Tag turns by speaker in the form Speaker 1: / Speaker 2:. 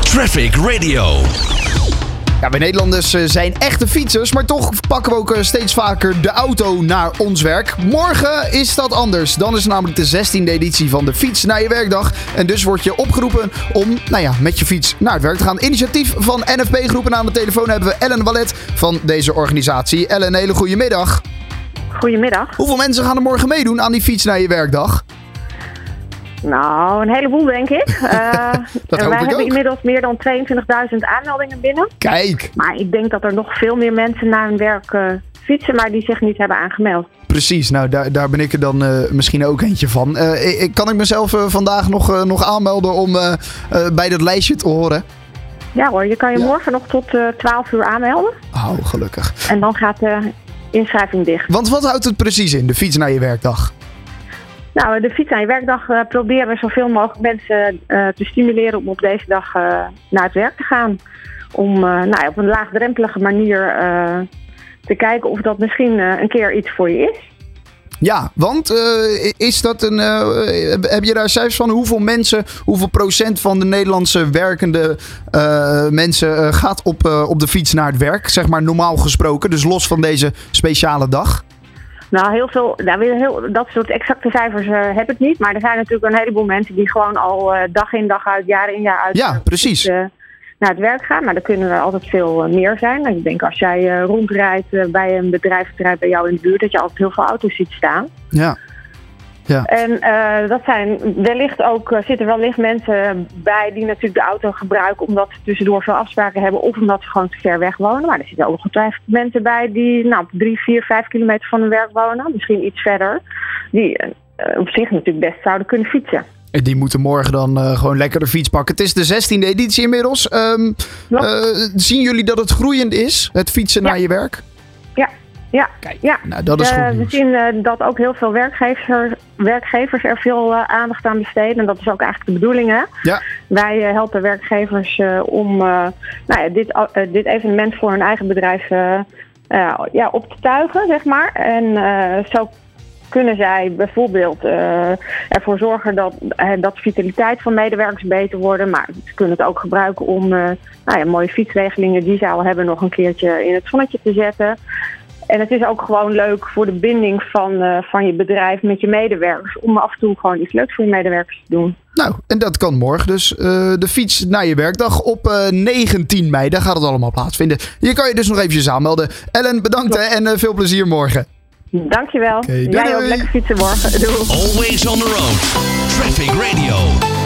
Speaker 1: Traffic Radio.
Speaker 2: Ja, wij Nederlanders eh, zijn echte fietsers, maar toch pakken we ook eh, steeds vaker de auto naar ons werk. Morgen is dat anders. Dan is het namelijk de 16e editie van de Fiets naar je werkdag. En dus word je opgeroepen om, nou ja, met je fiets naar het werk te gaan. Initiatief van NFP Groepen. Aan de telefoon hebben we Ellen Wallet van deze organisatie. Ellen, een hele goede middag.
Speaker 3: Goedemiddag.
Speaker 2: Hoeveel mensen gaan er morgen meedoen aan die Fiets naar je werkdag?
Speaker 3: Nou, een heleboel denk ik. Eh,
Speaker 2: Dat
Speaker 3: en
Speaker 2: hoop ik
Speaker 3: wij hebben
Speaker 2: ook.
Speaker 3: inmiddels meer dan 22.000 aanmeldingen binnen.
Speaker 2: Kijk,
Speaker 3: Maar ik denk dat er nog veel meer mensen naar hun werk eh, fietsen, maar die zich niet hebben aangemeld.
Speaker 2: precies. Nou, daar, daar ben ik er dan eh, misschien ook eentje van. Eh, ik- ik- kan ik mezelf eh, vandaag nog, eh, nog aanmelden om eh, eh, bij dat lijstje te horen?
Speaker 3: Ja hoor, je kan je
Speaker 2: Ja.
Speaker 3: morgen nog tot eh 12 uur aanmelden
Speaker 2: Oh, gelukkig.
Speaker 3: en dan gaat de inschrijving dicht.
Speaker 2: Want wat houdt het precies in, de fiets naar je werkdag?
Speaker 3: Nou, de Fiets aan je werkdag eh, proberen we zoveel mogelijk mensen eh, te stimuleren om op deze dag eh, naar het werk te gaan. Om eh, nou, ja, op een laagdrempelige manier eh, te kijken of dat misschien eh, een keer iets voor je is.
Speaker 2: Ja, want eh, is dat een. eh, heb- heb je daar cijfers van hoeveel mensen, hoeveel procent van de Nederlandse werkende eh, mensen eh, gaat op, eh, op de fiets naar het werk? Zeg maar normaal gesproken, dus los van deze speciale dag.
Speaker 3: Nou, heel veel, nou, weer heel, dat soort exacte cijfers eh, heb ik niet. Maar er zijn natuurlijk een heleboel mensen die gewoon al eh, dag in, dag uit, jaar in, jaar uit
Speaker 2: Ja, precies.
Speaker 3: eh, naar het werk gaan. Maar er kunnen er altijd veel eh, meer zijn. En ik denk als jij eh, rondrijdt eh, bij een bedrijfsterrein bij jou in de buurt, dat je altijd heel veel auto's ziet staan.
Speaker 2: Ja.
Speaker 3: En eh, dat zijn wellicht ook, eh, zitten wellicht mensen bij die natuurlijk de auto gebruiken omdat ze tussendoor veel afspraken hebben of omdat ze gewoon te ver weg wonen. Maar er zitten ook ongetwijfeld mensen bij die nou, op drie, vier, vijf kilometer van hun werk wonen, misschien iets verder. Die eh, op zich natuurlijk best zouden kunnen fietsen.
Speaker 2: En Die moeten morgen dan eh, gewoon lekker de fiets pakken. Het is de 16e editie inmiddels. Ehm,
Speaker 3: Klopt.
Speaker 2: eh, zien jullie dat het groeiend is, het fietsen
Speaker 3: Ja.
Speaker 2: naar je werk?
Speaker 3: Ja, ja, ja.
Speaker 2: Nou, dat is
Speaker 3: Eh,
Speaker 2: goed
Speaker 3: we
Speaker 2: nieuws.
Speaker 3: zien eh, dat ook heel veel werkgevers, werkgevers er veel eh, aandacht aan besteden. En dat is ook eigenlijk de bedoeling. Hè?
Speaker 2: Ja.
Speaker 3: Wij eh, helpen werkgevers eh, om eh, nou ja, dit, a- eh, dit evenement voor hun eigen bedrijf eh, eh, ja, op te tuigen, zeg maar. En eh, zo kunnen zij bijvoorbeeld eh, ervoor zorgen dat, eh, dat de vitaliteit van medewerkers beter worden. Maar ze kunnen het ook gebruiken om eh, nou ja, mooie fietsregelingen die ze al hebben nog een keertje in het zonnetje te zetten. En het is ook gewoon leuk voor de binding van, eh, van je bedrijf met je medewerkers. Om af en toe gewoon iets leuks voor je medewerkers te doen.
Speaker 2: Nou, en dat kan morgen dus. eh, de fiets naar je werkdag op eh, 19 mei. Daar gaat het allemaal plaatsvinden. Je kan je dus nog eventjes aanmelden. Ellen, bedankt hè, en eh, veel plezier morgen.
Speaker 3: Dankjewel.
Speaker 2: doei,
Speaker 3: Jij ook
Speaker 2: doei.
Speaker 3: lekker fietsen morgen. Doei.
Speaker 1: Always on the road. Traffic Radio.